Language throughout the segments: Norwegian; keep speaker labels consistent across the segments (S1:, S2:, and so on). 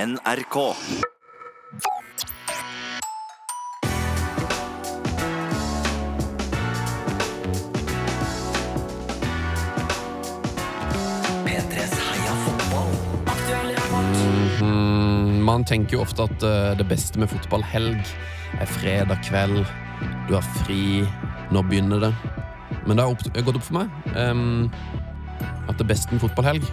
S1: NRK. P3s heia fotball.
S2: Mm, man tenker jo ofte at eh, det beste med fotballhelg er fredag kveld, du har fri, nå begynner det. Men det har opp, gått opp for meg em, at det beste med fotballhelg,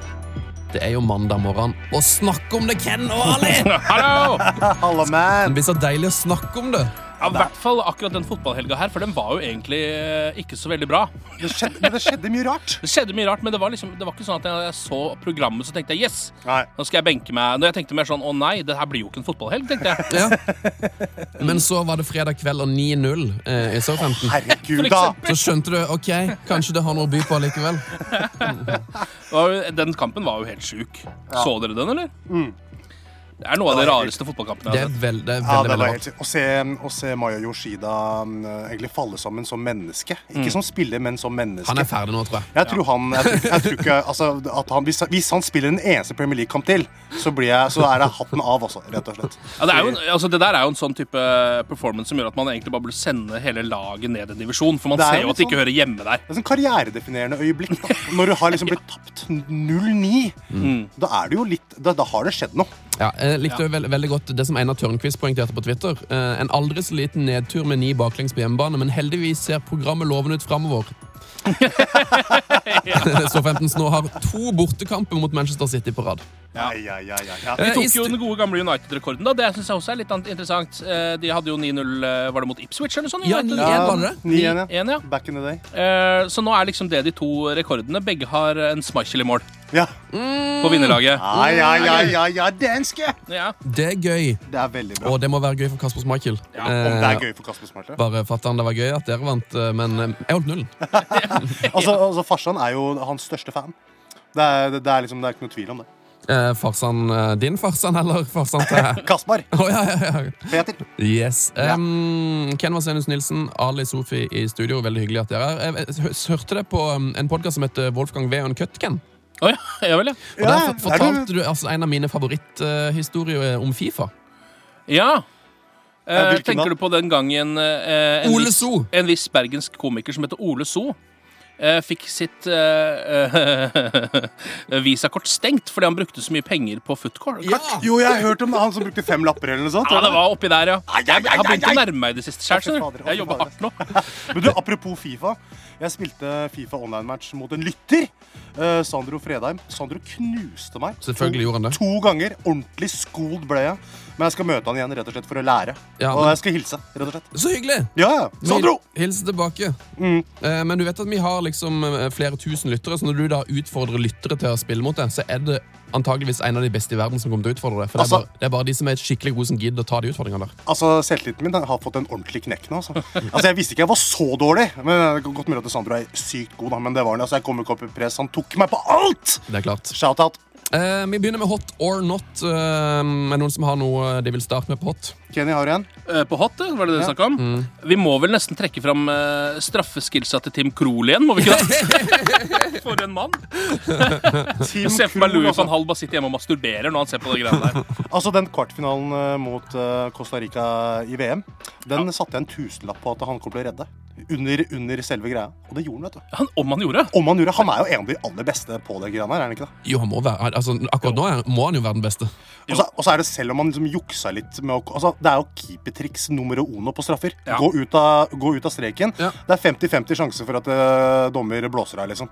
S2: det er jo mandag morgen. Og snakk om det, Ken og Ali!
S3: Hallo!
S4: Hallo,
S2: Det
S4: man!
S2: blir så deilig å snakke om det.
S3: Ja, I hvert fall akkurat den fotballhelga her, for den var jo egentlig eh, ikke så veldig bra.
S4: Det skjedde, men det skjedde mye rart.
S3: Det skjedde mye rart, men det var, liksom, det var ikke sånn at jeg så programmet så tenkte jeg yes,
S4: Nei.
S3: nå skal jeg benke meg. Når jeg tenkte mer sånn å nei, det her blir jo ikke en fotballhelg, tenkte jeg.
S2: Ja. Men så var det fredag kveld og 9-0 eh, i Southampton.
S4: Herregud,
S3: For
S4: da!
S3: eksempel.
S2: Så skjønte du ok, kanskje det har noe å by på likevel.
S3: Og den kampen var jo helt sjuk. Så dere den, eller? Det er noe av de
S4: Mm. Det var helt
S3: rareste fotballkampene
S2: Det
S3: jeg
S2: er
S3: har sett.
S2: veldig, det er
S4: Ja,
S2: veldig,
S4: det
S2: veldig
S4: var
S2: rart.
S4: helt sykt. Å se, å se Maya Yoshida mm, egentlig falle sammen som sånn menneske. Ikke som spiller, men som menneske.
S2: Mm. Han er ferdig nå, tror jeg.
S4: jeg tror han, jeg, tror- jeg tror ikke, altså, at han hvis, hvis han spiller en eneste Premier League-kamp til, så, blir jeg, så er det hatten av, altså. Rett og slett.
S3: Ja, det, er jo, en- altså, det der er jo en sånn type performance som gjør at man egentlig bare burde sende hele laget ned en divisjon, for man
S4: Det er
S3: ser
S4: jo
S3: jo at det ikke
S4: sånn.
S3: hører hjemme der.
S4: Det er sånn karrieredefinerende øyeblikk. Da. Når du har liksom blitt tapt 0-9,
S2: Mm.
S4: da er det jo litt Da, da har det skjedd noe.
S2: Ja, jeg likte jo veld, veldig godt det som Einar Tørnquist poengterte på Twitter. Eh, en aldri så liten nedtur med ni baklengs på hjemmebane, men heldigvis ser programmet lovende ut framover. Southamptons nå har to bortekamper mot Manchester City på rad.
S3: Ja.
S4: Ai, ai, ai, ai, ai.
S2: Eh,
S3: De
S2: i
S3: tok jo den gode gamle United-rekorden. da Det synes jeg også er litt an- interessant. Eh, De hadde jo 9-0 eh, Var det mot Ipswich eller noe sånt?
S2: Ja,
S3: United?
S2: 9-1 var det det?
S4: 9-1, ja.
S3: 9-1, ja.
S4: Back in the day.
S3: Eh, Så nå er liksom det de to rekordene. Begge har en Schmeichel i mål
S4: Ja.
S3: på vinnerlaget.
S2: Mm.
S4: Ai, ai, ai, ai, ai, danske!
S3: Ja.
S2: Det er gøy,
S4: Det er veldig bra.
S2: og det må være gøy for Kasper Schmeichel.
S3: Ja,
S4: Om det
S2: Eh,
S4: er gøy for Kasper Smarte.
S2: bare fatter'n, det var gøy at dere vant, eh, men eh, jeg holdt nullen.
S4: Altså, altså, Farsan er jo hans største fan. Det er, det, det er liksom, det er ikke noe tvil om det.
S2: Eh, farsan eh, din, farsan, eller farsan til
S4: Kaspar
S2: Å, ja, ja, ja.
S4: Peter.
S2: Yes. Um, Ken Vasenius Nilsen, Ali Sofi i studio. Veldig hyggelig at dere er her. Jeg hø- hørte det på um, en podkast som heter Wolfgang V og en cut, Ken.
S3: Å ja, ja vel, ja.
S2: Og
S4: Ja,
S2: Der
S4: er
S2: for- fortalte du altså, en av mine favoritthistorier eh, om Fifa.
S3: ja. Eh,
S4: hvilken da?
S3: tenker du på den gangen eh, en,
S2: Ole
S3: viss,
S2: So.
S3: en viss bergensk komiker som heter Ole So, eh, fikk sitt eh, visakort stengt fordi han brukte så mye penger på footcourt?
S4: Jo, jeg har hørt om han som brukte fem lapper eller noe sånt.
S3: Ja, det var oppi der, ja.
S4: Ai, ai,
S3: Jeg har
S4: ai,
S3: begynt å
S4: ai, ai.
S3: nærme meg i det siste sjøl,
S4: Å, fy
S3: skjønner du.
S4: fader, å,
S3: Jeg
S4: fy
S3: jobber hardt nå.
S4: Men du, apropos Fifa. Jeg spilte Fifa online-match mot en lytter. eh, Sandro Fredheim. Sandro knuste meg.
S2: Selvfølgelig gjorde han det.
S4: To ganger. Ordentlig skold ble jeg. Men jeg skal møte han igjen rett og slett for å lære.
S2: Ja,
S4: Og
S2: men-
S4: jeg skal hilse. rett og slett
S2: Så hyggelig!
S4: Ja, ja. Sandro!
S2: Vi- Hils tilbake.
S4: Mm.
S2: Eh, men du vet at vi har liksom eh, flere tusen lyttere, så når du da utfordrer lyttere til å spille mot deg, så er det antageligvis en av de beste i verden som kommer til å utfordre deg. For det, er
S4: Altså-
S2: bare, det er bare de som er skikkelig gode, som gidder å ta de utfordringene der.
S4: Altså, Selvtilliten min har fått en ordentlig knekk nå. Altså. altså, Jeg visste ikke jeg var så dårlig. Men det er Godt mulig at Sandro er sykt god, da, men det var han. Altså, jeg kom ikke opp i press. Han tok meg på alt!
S2: Det er klart.
S4: Shout-out.
S2: Eh, vi begynner med hot or not. Eh, er det noen som har noe eh, de vil starte med på hot?
S4: Kenny har du en.
S3: Eh, På hot, var det det du snakka om?
S4: Mm.
S3: Vi må vel nesten trekke fram eh, straffeskillsa til Tim Krohl igjen, må vi ikke det? For en mann.
S4: Team
S3: Jeg ser for meg
S4: Krohl,
S3: Louis
S4: altså.
S3: van Halba sitter hjemme og masturberer når han ser på de greiene der.
S4: Altså, den kvartfinalen eh, mot eh, Costa Rica i VM, den satte jeg en tusenlapp på at han kom til å redde. Under, under selve greia. Og det gjorde han, vet du.
S3: Han, om han gjorde.
S4: Om han gjorde Han er jo en av de aller beste på det greia her, er han ikke det?
S2: Jo, han må være, altså, akkurat nå er- må han jo være den beste.
S4: Og så, og så er det selv om man liksom juksa litt med å altså, Det er jo keepertriks nummer uno på straffer.
S3: Ja.
S4: Gå, ut av, gå ut av streken.
S2: Ja.
S4: Det er 50-50 sjanse for at eh, dommer blåser av, liksom.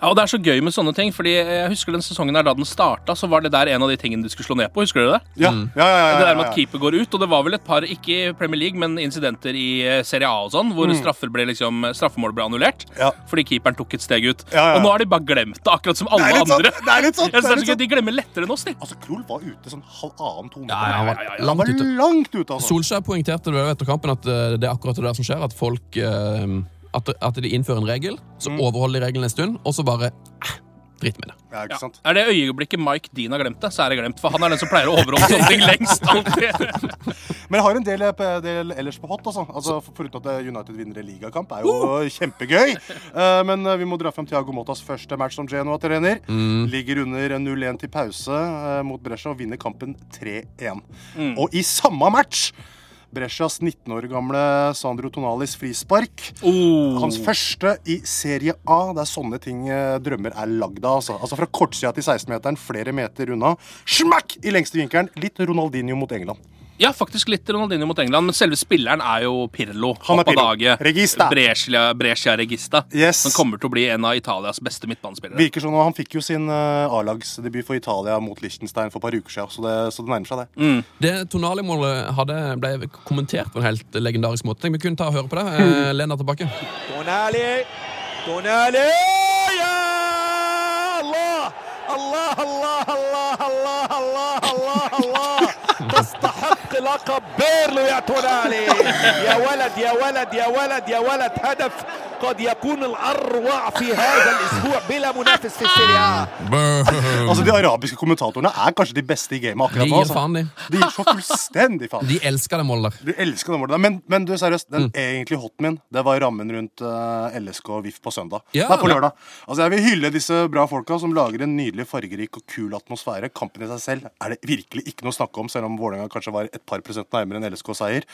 S3: Ja, og Det er så gøy med sånne ting, Fordi jeg husker den sesongen her da den starta, så var det der en av de tingene du skulle slå ned på. Husker du det?
S4: Ja, Mm. ja, ja, ja,
S3: Det
S4: ja,
S3: der med at
S4: ja.
S3: keeper går ut, og det var vel et par, ikke i Premier League, men incidenter i eh, Serie A og sånn, hvor straffer ble liksom, straffemål ble annullert
S4: Mm. Ja.
S3: fordi keeperen tok et steg ut.
S4: Ja, ja.
S3: Og nå har de bare glemt det, akkurat som alle
S4: Det er litt sånn,
S3: andre.
S4: det er litt sånn,
S3: Jeg synes det er
S4: det er
S3: så
S4: litt
S3: gøy, De glemmer lettere enn oss, de.
S4: Altså, Krull var ute sånn halvannen to
S2: Ja, ja, han var
S4: Han var
S2: langt ute.
S4: langt ute, altså.
S2: Solskjær poengterte det jo etter kampen at eh, det er akkurat det der som skjer. At Mm. folk eh, at, at de innfører en regel, så overholder de regelen en stund, og så bare eh, Drit med det.
S4: Ja, ikke
S3: Ja.
S4: sant?
S3: Er det øyeblikket Mike Dean har glemt det, så er det glemt. For han er den som pleier å overholde sånne ting lengst. alltid.
S4: Men jeg har en del, eh, del ellers på hot. Altså. Altså, for- Foruten at eh, United vinner en ligakamp, er jo kjempegøy. Eh, men eh, vi må dra fram Tiago Motas første match som Genoa-trener. Ligger under 0-1 til pause eh, mot Brescia og vinner kampen 3-1. Og i samme match Brescias 19 år gamle Sandro Tonalis frispark.
S3: Oh.
S4: Hans første i Serie A. Det er sånne ting eh, drømmer er lagd av. Altså. altså Fra kortsida til 16-meteren, flere meter unna. Smakk i lengste vinkelen. Litt Ronaldinho mot England.
S3: Ja, faktisk litt Ronaldinho mot England, men selve spilleren er jo Pirlo.
S4: Han er Pirlo.
S3: Papadage,
S4: Regista.
S3: Brescia, Brescia Regista.
S4: Yes.
S3: Som kommer til å bli en av Italias beste midtbanespillere.
S4: Virker sånn, og Han fikk jo sin eh, A-lagsdebut for Italia mot Liechtenstein for et par uker siden. Så det, så det nærmer seg, det.
S2: Det Tonali-målet hadde- ble kommentert på en helt legendarisk måte. Tenk, Vi kunne ta og høre på det. Eh, Len deg tilbake.
S1: Tonali. Tonali. Ja! الله الله الله الله الله الله الله الله تستحق لقب بيرلو يا تونالي يا ولد يا ولد يا ولد يا ولد هدف قد يكون الأروع في هذا الأسبوع بلا منافس في السيريا
S4: Altså De arabiske kommentatorene er kanskje de beste i gamet
S2: Mm. De gir
S4: akkurat nå. Altså.
S2: faen, de.
S4: De gir så fullstendig faen.
S2: De Mm. elsker det målet der.
S4: Du elsker den målet der. Men, men du, seriøst, den egentlig hoten min, det var rammen rundt eh, LSK og VIF på søndag.
S2: Ja.
S4: Nei, på lørdag. Altså, jeg vil hylle disse bra folka som lager en nydelig, fargerik og kul atmosfære. Kampen i seg selv er det virkelig ikke noe å snakke om, selv om Vålerenga kanskje var et par prosent nærmere en LSK-seier.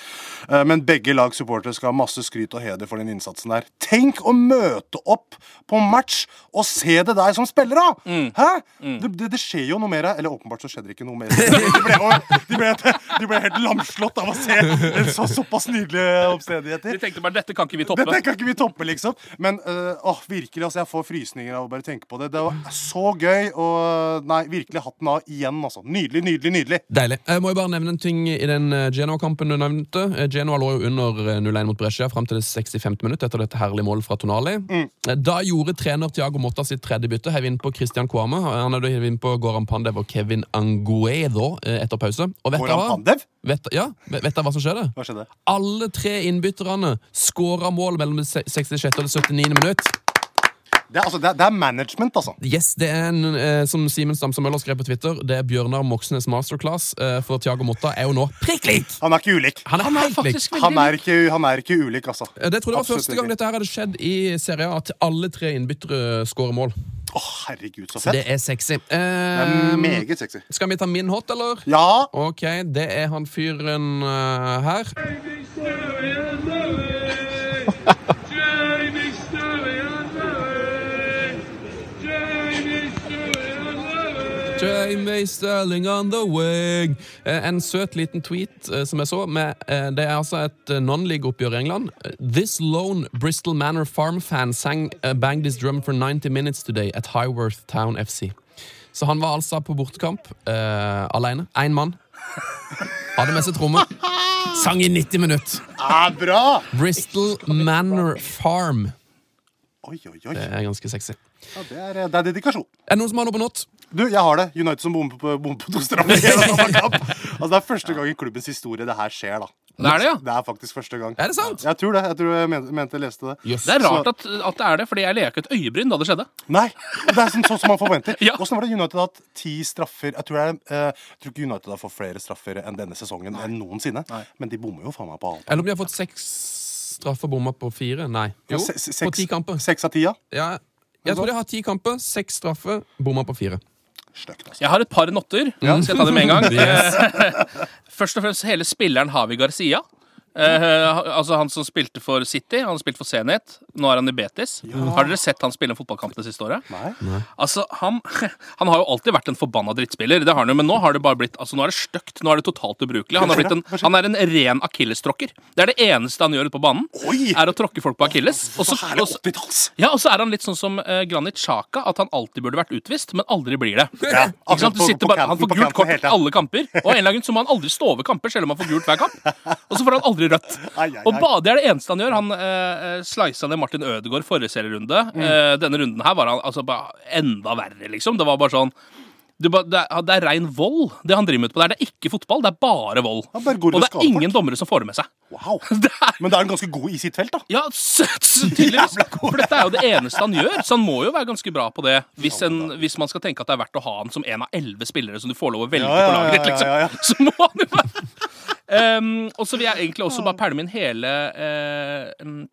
S4: Eh, men begge lags supportere skal ha masse skryt og heder for den innsatsen der. Tenk å møte opp på match og se det der som spiller, da! Hæ? Det, det, det skjer jo noe mer her. Eller åpenbart så skjedde det ikke noe mer. De ble, de ble, de ble helt lamslått av å se en så, såpass nydelige
S3: De
S4: omstendigheter.
S3: tenkte bare dette kan ikke vi toppe.
S4: Dette kan ikke vi toppe, liksom. Men øh, åh, virkelig, altså, jeg får frysninger av å bare tenke på det. Det var så gøy. Og nei, virkelig hatten av igjen, altså. Nydelig, nydelig, nydelig.
S2: Deilig. Jeg må jo bare nevne en ting i den eh, Genoa-kampen du nevnte. Eh, Genoa lå jo under eh, 0-1 mot Brescia fram til det 65. minutt etter dette herlige målet fra Tonali.
S4: Mm.
S2: Eh, Da gjorde trener Tiago Motta sitt tredje bytte. Heiv inn på Christian Kouame. Han hadde heiv inn på Goran Pandev og Kevin Anguedo eh, etter pause. Og vet dere
S4: Goran
S2: hva?
S4: Pandev?
S2: Vet, ja, vet dere hva som skjedde?
S4: Hva skjedde?
S2: Alle tre innbytterne skåra mål mellom det se- 66. og det 79. minutt.
S4: Det er, altså, det er, det er management, altså.
S2: Yes, det er en, eh, som Simen Stamse Møller skrev på Twitter, det er Bjørnar Moxnes masterclass eh, for Tiago Motta er jo nå prikk lik!
S4: Han er ikke ulik.
S2: Han er, helt lik.
S3: Faktisk veldig
S4: Han er ikke, han er ikke ulik, altså.
S2: Eh, Det tror jeg var
S4: Absolutt
S2: første gang
S4: ikke.
S2: dette her hadde skjedd i Serie A, at alle tre innbyttere skårer mål.
S4: Å, herregud, så fett.
S2: Det er sexy.
S4: Det
S2: Eh,
S4: er meget sexy.
S2: skal vi ta min hot, eller?
S4: Ja,
S2: Ok, det er han fyren eh, her. Jamie Sterling on the wing. Eh, En søt liten tweet eh, som jeg så. Med, eh, det er altså et eh, non-league-oppgjør i England. Eh, This lone Bristol Manor farm fan sang eh, Bang This Drum for 90 Minutes Today at Highworth Town FC. Så han var altså på bortekamp eh, alene. Én mann. Hadde med seg tromme. Sang i 90 minutter.
S4: er bra!
S2: Bristol Manor Farm.
S4: Oi, oi, oi.
S2: Det er ganske sexy.
S4: Ja, det, er, det er dedikasjon.
S2: Er det noen som har noe på not?
S4: Du, jeg har det. United som bommer på, bommer på to straffer. i en annen kamp. altså, det er første gang i klubbens historie det her skjer, da.
S3: Det er det, ja.
S4: Det er faktisk første gang.
S2: Er det sant?
S4: Jeg tror det. Jeg tror jeg mente, mente jeg leste det.
S2: Jøss.
S3: Det er rart at, at det er det, fordi jeg leka et øyebryn da det skjedde.
S4: Nei, Det er sånn, sånn som man forventer.
S3: Ja.
S4: Åssen var det United har hatt ti straffer? Jeg tror, det er, eh, jeg tror ikke United har fått flere straffer enn denne sesongen enn noensinne. Men de bommer jo faen meg på alt.
S2: Eller om de har fått seks straffebommer på fire? Nei. Jo,
S4: Se- se-
S2: på ti kamper.
S4: Seks av ti, ja.
S2: Ja, jeg tror de har ti kamper, seks straffer, bommer på fire.
S4: Stygt, altså.
S3: Jeg har et par notter. Skal jeg ta dem med en gang? Først og fremst hele spilleren Havi Garcia. Eh, altså Han som spilte for City, han har spilt for Zenit. Nå er han i Betis. Har dere sett han spille en fotballkamp det siste året?
S4: Nei.
S3: Altså, han, han har jo alltid vært en forbanna drittspiller, det har han jo, men nå har det bare blitt Altså, nå er det stygt. Nå er det totalt ubrukelig. Han, har blitt en, han er en ren akillestråkker. Det er det eneste han gjør ute på banen,
S4: Oi!
S3: er å tråkke folk på akilles. Og
S4: Så
S3: så-
S4: herlig
S3: og så-
S4: 80-talls!
S3: ja, og så er han litt sånn som eh, Granit Xhaka, at han alltid burde vært utvist, men aldri blir det.
S4: Ja,
S3: Ikke sant? Du
S4: akkurat på-
S3: sitter
S4: på
S3: bare,
S4: kanten,
S3: Han får
S4: på
S3: gult
S4: kanten
S3: kort
S4: hele tiden.
S3: alle kamper, og av en eller annen grunn så må han aldri stå over kamper, selv om han får gult hver kamp. Og så får han aldri rødt.
S4: Ai, ai, ai.
S3: Og ba, det er det eneste han gjør. Han eh, slisa ned Martin
S4: Mm.
S3: Ødegaard forrige serierunde. Eh, denne runden her var han altså, bare enda verre, liksom. Det var bare sånn Det, ba- det, er, det er rein vold, det han driver med utpå der. Det er ikke fotball, det er bare vold.
S4: Han bare går
S3: og
S4: og
S3: det
S4: skader
S3: er ingen
S4: folk.
S3: dommere som får det med seg.
S4: Wow.
S3: Det er,
S4: Men da er han ganske god i sitt felt, da.
S3: ja, søt, så tydeligvis.
S4: Jævla god.
S3: For dette er jo det eneste han gjør, så han må jo være ganske bra på det. Hvis, en, hvis man skal tenke at det er verdt å ha han som en av elleve spillere som du får lov å velge
S4: Ja, ja,
S3: på laget ditt,
S4: ja,
S3: liksom.
S4: ja, ja.
S3: Så må han jo være Ehm, Og så vil jeg egentlig også bare pælme inn hele eh, mm,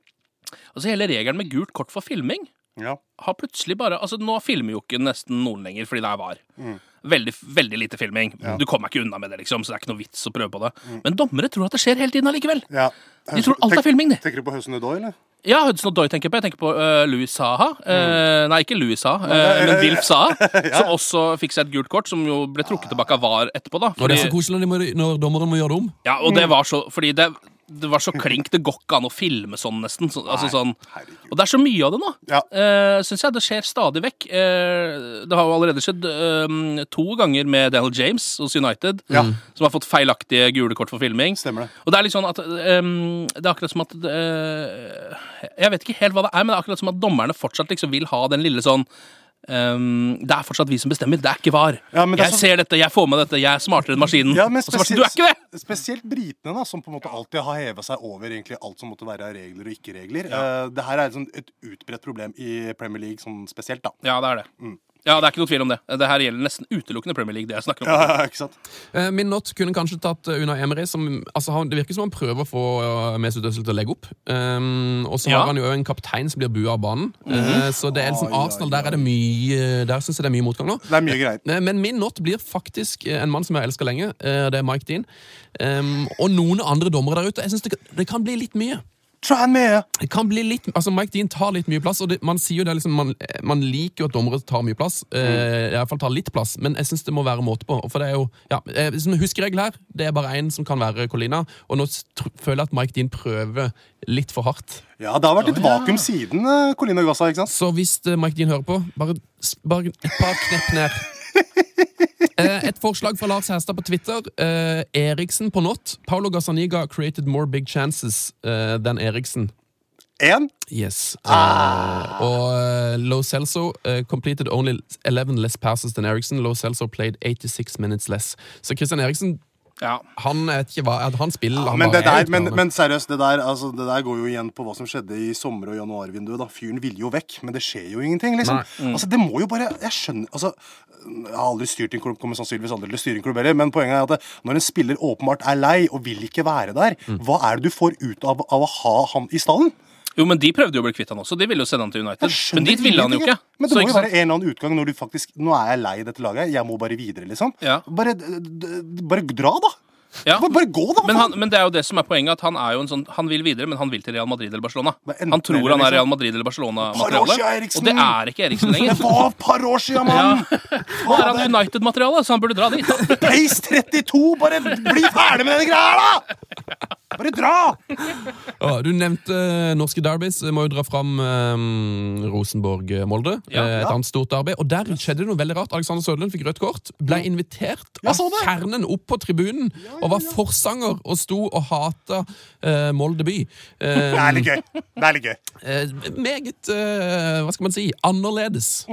S3: Altså hele regelen med gult kort for filming
S4: Ja.
S3: har plutselig bare Altså, nå filmer jo ikke nesten noen lenger fordi det er var.
S4: Mm.
S3: Veldig, veldig lite filming. Du kommer ikke unna med det, liksom, så det er ikke noe vits å prøve på det.
S4: Mm.
S3: Men dommere tror at det skjer hele tiden allikevel.
S4: ja.
S3: De tror alt er filming, de.
S4: Tenker du på Høsten Udoy, eller?
S3: Ja, Hudson Odoi tenker jeg på. Jeg tenker på øh, Louis Saha. Eh, nei, ikke Louis Saha, eh, men Wilf Saha. Som også fikk seg et gult kort, som jo ble trukket tilbake av VAR etterpå. da
S2: Og det er
S3: Fordi-
S2: så koselig når, de må- når dommeren må gjøre det om.
S3: Ja, og
S4: Mm.
S3: det var så Fordi det, det var så klink. Det går ikke an å filme sånn, nesten. Så, altså sånn
S4: herregud.
S3: Og det er så mye av det nå.
S4: Ja.
S3: Eh, Syns jeg. Det skjer stadig vekk. Eh, det har jo allerede skjedd eh, to ganger med Daniel James hos United, som har fått feilaktige gule kort for filming.
S4: Stemmer det.
S3: Og det er litt sånn at eh, Det er akkurat som at eh, Jeg vet ikke helt hva det er, men det er akkurat som at dommerne fortsatt liksom vil ha den lille sånn eh, det er fortsatt vi som bestemmer, det er ikke VAR.
S4: Ja, men det er
S3: jeg
S4: så-
S3: ser dette, jeg får med dette, jeg er smartere enn maskinen.
S4: Ja, men
S3: Og så bare sånn,
S4: spesielt-
S3: du er ikke det!
S4: Spesielt britene, da, som på en måte alltid har heva seg over egentlig alt som måtte være av regler og ikke-regler. Eh, det her er et sånn- et utbredt problem i Premier League sånn spesielt, da.
S3: Ja, det er det.
S4: Mm.
S3: Ja, Det er ikke noe tvil om det. Det her gjelder nesten utelukkende Premier League. det jeg snakker om.
S4: Ja, ikke sant?
S2: Eh, Min not kunne kanskje tatt eh, Unai Emery. Som, altså han, det virker som han prøver å få eh, Mesut Özil til å legge opp. Um, og så
S3: Ja. Mhm.
S2: har han jo en kaptein som blir bua av banen. Eh, så det er liksom
S4: Ai, ai,
S2: Arsenal, der er det mye Der syns jeg det er mye motgang nå.
S4: Det er mye greier.
S2: Eh, Men min not blir faktisk eh, en mann som jeg har elska lenge. eh, Det er Mike Dean. Um, og noen andre dommere der ute. Jeg synes det, kan- det kan bli litt mye.
S4: Try and me!
S2: Det kan bli litt, altså Mike Dean tar litt mye plass, og det, man sier jo det er liksom, man, man liker jo at dommere tar mye plass. Eh, i hvert fall tar litt plass, men jeg syns det må være måte på. For det er jo, ja, eh, som Huskeregel her, det er bare én som kan være Colina, og nå s- tr føler jeg at Mike Dean prøver litt for hardt.
S4: Ja, det har vært et vakuum siden eh, Colina Gassa, ikke sant?
S2: Så hvis eh, Mike Dean hører på, bare, s- bare et par knepp ned. Eh, Et forslag fra Lars Herstad på Twitter. Eh, Eriksen på not. Paolo Gazzaniga created more big chances eh, than Eriksen.
S4: Én.
S2: Yes.
S4: Ah.
S2: Eh, og eh, Lo Celso eh, completed only 11 less passes than Eriksen. Lo Celso played 86 minutes less. Så Christian Eriksen,
S3: Ja.
S2: han jeg vet ikke hva at Han spiller han
S4: Men,
S2: bare
S4: det
S2: er
S4: der,
S2: helt
S4: men,
S2: galen.
S4: men seriøst, det der, altså, det der går jo igjen på hva som skjedde i sommer- og januarvinduet. da. Fyren ville jo vekk, men det skjer jo ingenting. liksom.
S3: Mm.
S4: Altså, Det må jo bare Jeg skjønner altså, Jeg har aldri styrt en klubb, kommer sannsynligvis aldri til å styre en klubb heller, men poenget er at det, når en spiller åpenbart er lei og vil ikke være der,
S3: Mm.
S4: hva er det du får ut av, av å ha han i stallen?
S3: Jo, men de prøvde jo å bli kvitt han også. De ville jo sende han til United.
S4: Jeg skjønner
S3: Men dit ville han jo
S4: ingenting,
S3: ikke.
S4: jeg. Men det
S3: Så,
S4: må
S3: ikke
S4: jo
S3: sant?
S4: være en eller annen utgang når du faktisk Nå er jeg lei dette laget, jeg må bare videre, liksom.
S3: Ja.
S4: Bare, d- d- bare dra, da.
S3: Ja.
S4: Bare, bare gå, da.
S3: Men, han, men det er jo det som er poenget, at han er jo en sånn Han vil videre, men han vil til Real Madrid eller Barcelona.
S4: Det er enten
S3: Han tror
S4: eller,
S3: han er
S4: liksom.
S3: Real Madrid eller Barcelona-materiale,
S4: Parosia
S3: og
S4: Eriksen!
S3: det er ikke Eriksen
S4: Det
S3: lenger.
S4: var et par år siden, mann!
S3: Nå er han United-materiale, så han burde dra dit.
S4: Pace 32! Bare bli ferdig med denne greia her, da! Bare dra!
S2: Ja, du nevnte eh, norske derbys. Jeg må jo dra fram eh, Rosenborg-Molde.
S3: Ja.
S2: Eh, et annet stort derby. Og der skjedde det noe veldig rart. Alexander Søderlund fikk rødt kort. Ble invitert av
S4: så det.
S2: kjernen opp på tribunen og var forsanger og sto og hata eh, Molde by. Eh,
S4: Det er litt gøy. Det er litt gøy.
S2: eh, meget eh, Hva skal man si? Annerledes.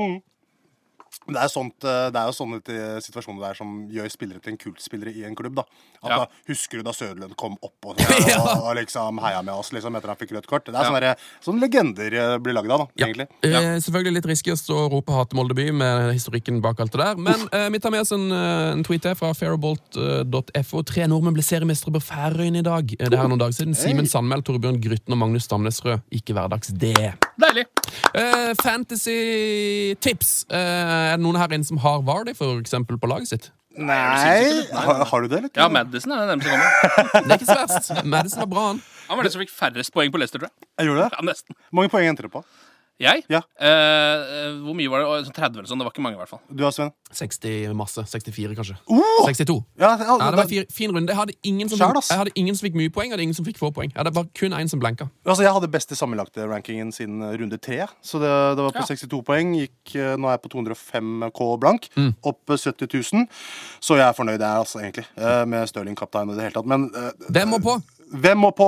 S4: Men Det er, sånt, eh, det er jo sånne til- situasjoner der som gjør spillere til en kultspillere i en klubb. da. At
S3: Ja.
S4: da Husker du da Søderlund kom opp og, og, og liksom heia med oss liksom, etter han fikk rødt kort? Det er sånne, der- sånne legender eh, blir lagd av, da, egentlig.
S2: Eh, selvfølgelig litt risky å stå og rope 'hate Molde by' med historikken bak alt det der, men eh, vi tar med oss en, eh, en tweet her fra eh, fairbolt.fo. Tre nordmenn ble seriemestere på Færøyene i dag. Eh, det er her noen dager siden. Simen Sandmæl, Torbjørn Grytten og Magnus Stamnesrød. Ikke hverdags, det.
S3: Deilig.
S2: Eh, Fantasy-tips. Eh, er det noen her inne som har Vardy, for eksempel, på laget sitt?
S4: Nei, har, har du det, eller?
S3: Ja, Madison er den nærmeste som kommer.
S2: Det er ikke så verst. Madison var bra, han.
S3: Han var den som fikk færrest poeng på Leicester, tror jeg.
S4: Jeg gjorde det.
S3: Ja, nesten.
S4: Mange poeng endte det på?
S3: Jeg?
S4: Ja.
S3: Eh, hvor mye var det? Sånn 30 eller sånn? Det var ikke mange, i hvert fall.
S4: Du da, Sven?
S2: 60 masse. 64, kanskje.
S4: Oh!
S2: 62.
S4: Ja, ja,
S2: Ja, det
S4: da-
S2: var en fin runde. Jeg hadde, ingen som
S4: Skjær,
S2: fikk,
S4: ass.
S2: jeg hadde ingen som fikk mye poeng, og ingen som fikk få poeng. Jeg hadde bare kun én som blanka.
S4: Altså, jeg hadde beste sammenlagte rankingen siden eh, runde tre. Så det, det var på 62 poeng. Gikk, eh, nå er jeg på 205K blank. Opp eh, 70 000. Så jeg er fornøyd, jeg, altså, egentlig. eh, Med Stirling kaptein og i det hele tatt. Men eh,
S2: Det må på!
S4: Hvem må på?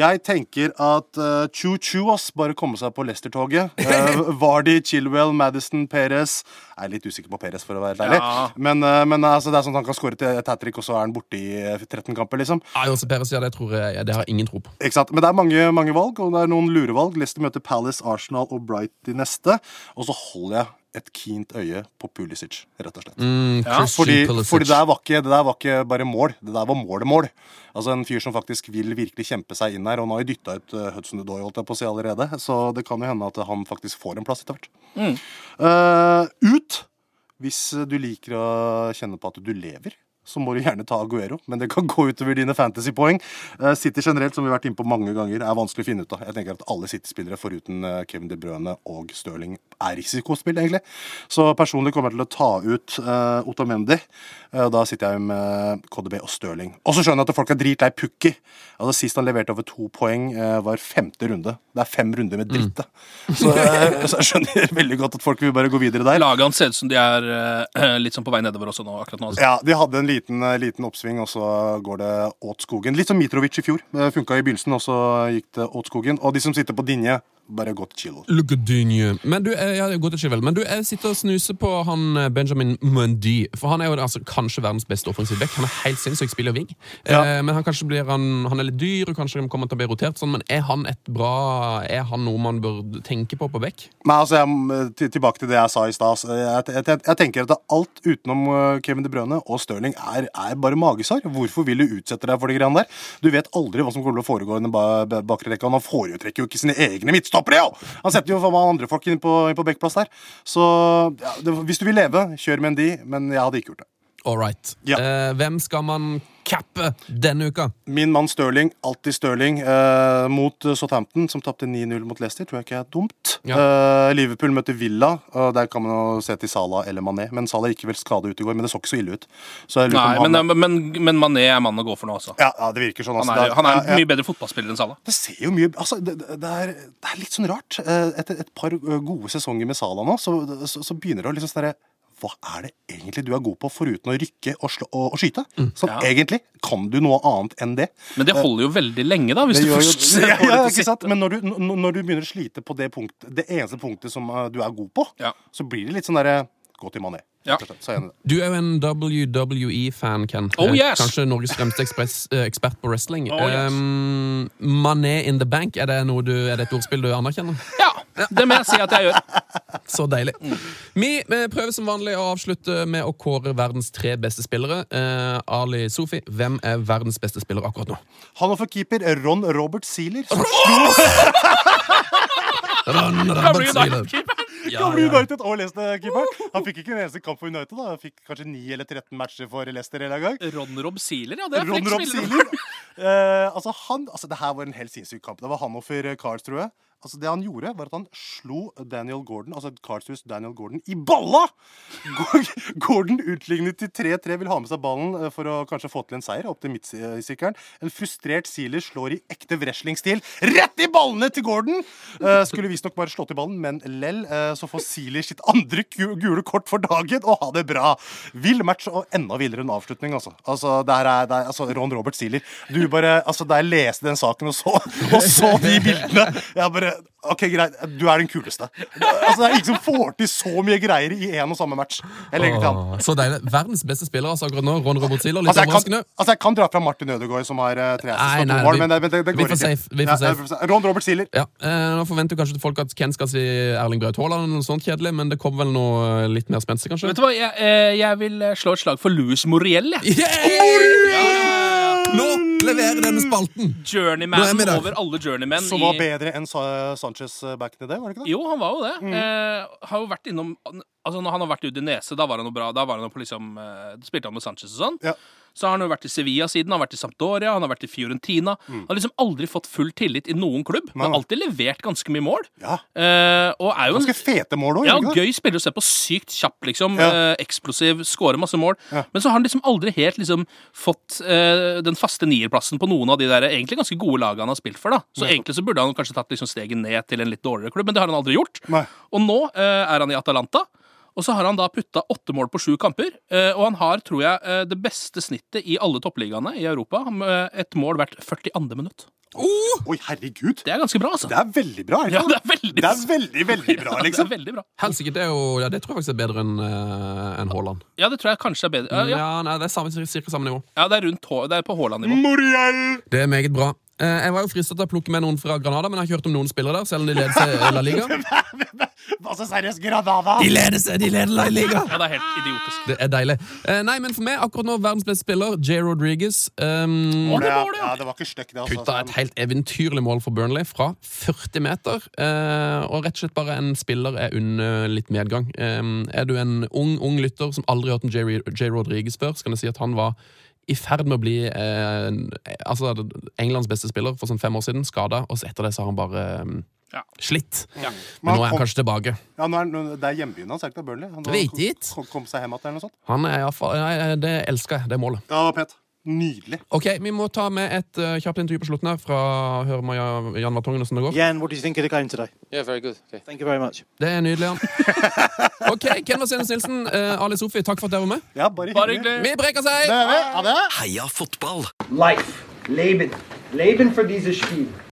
S4: Jeg tenker at eh, Chu-Chu, ass, bare komme seg på Leicester-toget. Eh, Vardy, Chilwell, Madison, Perez Jeg er litt usikker på Perez, for å være helt ærlig.
S3: Ja.
S4: Men, eh, men altså, det er sånn at han kan skåre til et hat trick, og så er han borte i eh, 13 kamper, liksom.
S2: Ja, Jose Perez, ja, altså, det, tror jeg, ja, det har jeg ingen tro på.
S4: Ikke sant? Men det er mange, mange valg, og det er noen lure valg. Leicester møter Palace, Arsenal og Bright i neste. Og så holder jeg et kint øye på Pulisic, rett og slett.
S3: Ja,
S2: Christian
S4: Fordi,
S2: Mm, Pulisic.
S4: fordi det, der var ikke, det der var ikke bare mål. Det der var mål-mål. Altså En fyr som faktisk vil virkelig kjempe seg inn her. Og han har jo dytta ut eh, Hudson Odoi holdt jeg på å si allerede, så det kan jo hende at han faktisk får en plass etter hvert. Eh, ut! Hvis eh, du liker å kjenne på at du lever, så må du gjerne ta Aguero. Men det kan gå utover dine fantasypoeng. Eh, City generelt, som vi har vært inne på mange ganger, er vanskelig å finne ut av. Jeg tenker at alle City-spillere foruten eh, Kevin De Bruyne og Stirling er risikospill, egentlig. Så personlig kommer jeg til å ta ut uh, Otamendi. Eh, da sitter jeg med KDB og Stirling. Og så skjønner jeg at folk er dritlei Pukki. Altså, sist han leverte over to poeng, eh, var femte runde. Det er fem runder med dritt, da. Så, eh, så jeg skjønner veldig godt at folk vil bare gå videre der.
S3: Laget hans ser ut som de er eh, litt sånn på vei nedover også nå, akkurat nå. Altså.
S4: Ja, de hadde en liten, eh, liten oppsving, og så går det åt skogen. Litt som Mitrovic i fjor. Det funka i begynnelsen, og så gikk det åt skogen. Og de som sitter på dinje, bare gå til Chilo.
S2: Look at Dinje. Men du, eh, ja, det er godt å ikke vel. Men du, jeg sitter og snuser på han eh, Benjamin Mundy. For han er jo altså, kanskje verdens beste offensive back. Han er helt sinnssyk, spiller wing.
S4: Ja.
S2: Eh, men han, kanskje blir han, han er litt dyr, og kanskje han kommer til å bli rotert sånn, men er han et bra Er han noe man bør tenke på på back?
S4: Nei, altså, jeg, til- tilbake til det jeg sa i stad. altså, Jeg, jeg, jeg, jeg tenker at alt utenom eh, Kevin De Brøne og Stirling er, er bare magesarr. Hvorfor vil du utsette deg for de greiene der? Du vet aldri hva som kommer til å foregå i den ba- ba- bakre rekka. og Han foretrekker jo ikke sine egne midtstoppere, jo! Han setter jo for meg andre folk inn på, inn på backplass der. Så ja, det, hvis du vil leve, kjør med en de, men jeg hadde ikke gjort det.
S2: All right.
S4: Ja.
S2: Eh, hvem skal man cappe denne uka?
S4: Min mann Stirling, alltid Stirling, eh, mot eh, Southampton, som tapte 9-0 mot Leicester, tror jeg ikke er dumt. Eh, Liverpool møter Villa, og der kan man jo se til Salah eller Mané. Men Salah gikk vel skade ut i går, men det så ikke så ille ut. Så jeg lurer
S3: Nei,
S4: på om
S3: men,
S4: han...
S3: men, men Mané er mannen å gå for nå, altså.
S4: ja, ja, det virker sånn.
S3: Han
S4: altså.
S3: er,
S4: Det er-
S3: han er
S4: ja, ja.
S3: en mye bedre fotballspiller enn Salah.
S4: Det ser jo mye altså, det, det, det er, det er litt sånn rart. Eh, Etter et par eh, gode sesonger med Salah nå, så, så, så begynner det å liksom sånn derre, Hva er det egentlig du er god på, foruten å rykke og, slå, og, og skyte? Sånn
S3: Ja.
S4: egentlig. Kan du noe annet enn det?
S3: Men det holder jo veldig lenge, da, hvis
S4: Det
S3: du
S4: gjør jo-
S3: først får
S4: ja, ja,
S3: det
S4: ikke
S3: til å
S4: sant? Men når du, n- når du begynner å slite på det, punktet, det eneste punktet som eh, du er god på,
S3: Ja.
S4: så blir det litt sånn derre Gå til Mané.
S3: Ja.
S4: rett og slett. Så er jeg enig i det.
S2: Du er jo en WWE-fan, Ken.
S3: Oh,
S2: Eh,
S3: yes!
S2: Kanskje Norges fremste ekspress, eh, ekspert på wrestling.
S3: Oh, yes.
S2: um, Mané in the bank, er det, noe du, er det et ordspill du anerkjenner?
S3: Ja, det må jeg si at jeg gjør.
S2: Så deilig. Vi eh, prøver som vanlig å avslutte med å kåre verdens tre beste spillere. Eh, Ali Sofi, hvem er verdens beste spiller akkurat nå?
S4: Han og for keeper Ron Robert Sealer. som
S3: Gamle United-keeperen.
S2: Ja,
S4: Gamle
S2: ja.
S4: United og Leicester-keeperen. Han fikk ikke en eneste kamp for United. da Han fikk kanskje 9 eller 13 matcher for Leicester en eller annen gang.
S3: Ron Rob Sealer, ja. Det er
S4: Ron
S3: frekk
S4: Rob
S3: spiller.
S4: Sealer. Eh, altså, han Altså, det her var en helt sinnssyk kamp. Det var han og for Carls, tror jeg. Altså, det han gjorde, var at han slo Daniel Gordon, altså Carlshus Daniel Gordon, i balla! Gor- Gordon utlignet til 3-3, vil ha med seg ballen eh, for å kanskje få til en seier opp til midtsykkelen. En frustrert Sealer slår i ekte wrestlingstil rett i ballene til Gordon! Eh, skulle visstnok bare slått i ballen, men lell, eh, så får Sealer sitt andre gu- gule kort for dagen, og ha det bra! Vill match og enda villere enn avslutning, altså. Altså, det her er, det er, altså Ron Robert Sealer. Du bare, altså, da jeg leste den saken og så, og så de bildene, jeg bare OK, greit, du er den kuleste. Altså, Det er ingen som får til så mye greier i én og samme match. Jeg legger til han.
S2: Åh, Så deilig. Verdens beste spiller altså akkurat nå. Ron Robert Ziller. Litt
S4: Altså jeg, kan,
S2: overraskende.
S4: altså, jeg kan dra fra Martin Ødegaard, som har uh, tre assist
S2: Nei,
S4: og
S2: nei,
S4: to mål,
S2: vi-
S4: men det, men det, det
S2: vi
S4: går
S2: får
S4: ikke.
S2: safe, vi får
S4: Ja,
S2: safe.
S4: vi får safe. Ron Robert Sealer.
S2: Ja, eh, Nå forventer jo kanskje folk at Ken skal si Erling Braut Haaland, eller noe sånt kjedelig, men det kommer vel noe eh, litt mer spenstig, kanskje?
S3: Vet du hva, jeg, eh, jeg vil eh, slå et slag for Louis Moriel, jeg.
S2: Yeah! Nå leverer denne spalten! Nå er vi
S3: Journeyman
S2: der.
S3: over alle journeymen.
S4: Som var
S3: i-
S4: bedre enn Sa Sanchez eh, back in the day, var det ikke det?
S3: Jo, han var jo det.
S4: Mm.
S3: Eh, har jo vært innom Altså Når han har vært i Udinese, da var han jo bra. Da var han jo på liksom eh, da spilte han med Sanchez og sånn.
S4: Ja.
S3: Så har han jo vært i Sevilla siden, han har vært i Sampdoria, han har vært i Fiorentina. Han har liksom aldri fått full tillit i noen klubb. Han
S4: Mm. Nei, nei.
S3: har alltid levert ganske mye mål.
S4: Ja.
S3: Eh, og er jo en
S4: Ganske fete mål òg,
S3: ja,
S4: ikke det?
S3: gøy spiller å se på. Sykt kjapp, liksom.
S4: Ja.
S3: Eh, eksplosiv, scorer masse mål.
S4: Ja.
S3: Men så har han liksom aldri helt liksom fått eh, den faste nierplassen på noen av de der egentlig ganske gode lagene han har spilt for. da Så egentlig så burde han kanskje tatt liksom steget ned til en litt dårligere klubb, men det har han aldri gjort.
S4: Nei.
S3: Og nå eh, er han i Atalanta. Og så har han da putta åtte mål på sju kamper, eh, og han har, tror jeg, eh, det beste snittet i alle toppligaene i Europa. Han, eh, Et mål hvert 42. minutt.
S2: Oh!
S4: Oi, herregud!
S3: Det er ganske bra, altså.
S4: Det er veldig bra.
S3: Ja,
S4: Eller?
S3: det er veldig,
S4: Det er veldig, veldig
S3: Ja,
S4: bra,
S3: det er
S4: liksom.
S3: veldig bra.
S2: Helsike, det, er jo- ja, det tror jeg faktisk er bedre enn eh, enn Haaland.
S3: Ja, det tror jeg kanskje er bedre. Ja, ja.
S2: Ja, nei, Det er samme, cirka samme nivå.
S3: ja det er rundt H det er på Haaland-nivå.
S4: Moriel!
S2: Det er meget bra. Eh, Jeg var jo fristet til å plukke med noen fra Granada, men jeg har ikke hørt om noen spillere der, selv om de leder seg eh, La Liga.
S4: Altså, seriøst, Granada!
S2: De leder seg, de leder La Liga!
S3: Ja, det er helt idiotisk.
S2: Det er deilig. Eh, Nei, men for meg, akkurat nå, verdens beste spiller, J. Rodriguez. Um,
S3: Å, det
S4: Ja,
S3: var det, ja.
S4: ja, det var ikke stygt, det. Altså.
S2: Putta et helt eventyrlig mål for Burnley fra 40 meter. Eh, og rett og slett bare en spiller er under litt medgang. Eh, er du en ung ung lytter som aldri har hørt om J. J. Rodriguez før, så kan jeg si at han var i ferd med å bli eh, en- altså, Englands beste spiller for sånn fem år siden, skada, og så etter det så har han bare eh,
S3: Ja.
S2: slitt.
S3: Ja.
S2: Men
S4: Men
S2: nå er
S4: han
S2: han
S4: kom-
S2: kanskje tilbake.
S4: Ja, nå er, nå- det er hjembyen hans, er det ikke det? Burnley? Han
S2: Vet ikke.
S4: kom, kom seg hjem igjen, eller noe sånt?
S2: Han er i hvert fall- Nei, det elsker jeg. Det er målet.
S4: Ja, Pet. Nydelig.
S2: Ok, Vi må ta med et eh, kjapt intervju på slutten her fra høre med Jan- Jan Vartongen åssen det går.
S5: Jan, what do you think of the game today?
S6: Yeah, very good. Okay.
S5: Thank you very much.
S2: Det er nydelig, han. Ok, Ken Vasenus Nilsen, eh, Ali Sofi, takk for at dere var med.
S4: Ja, bare
S3: Bare
S4: hyggelig.
S3: hyggelig.
S2: Vi breker seg!
S4: Ja, det er-
S7: Heia fotball!
S8: Life, Leben. Leben für dieses Spiel.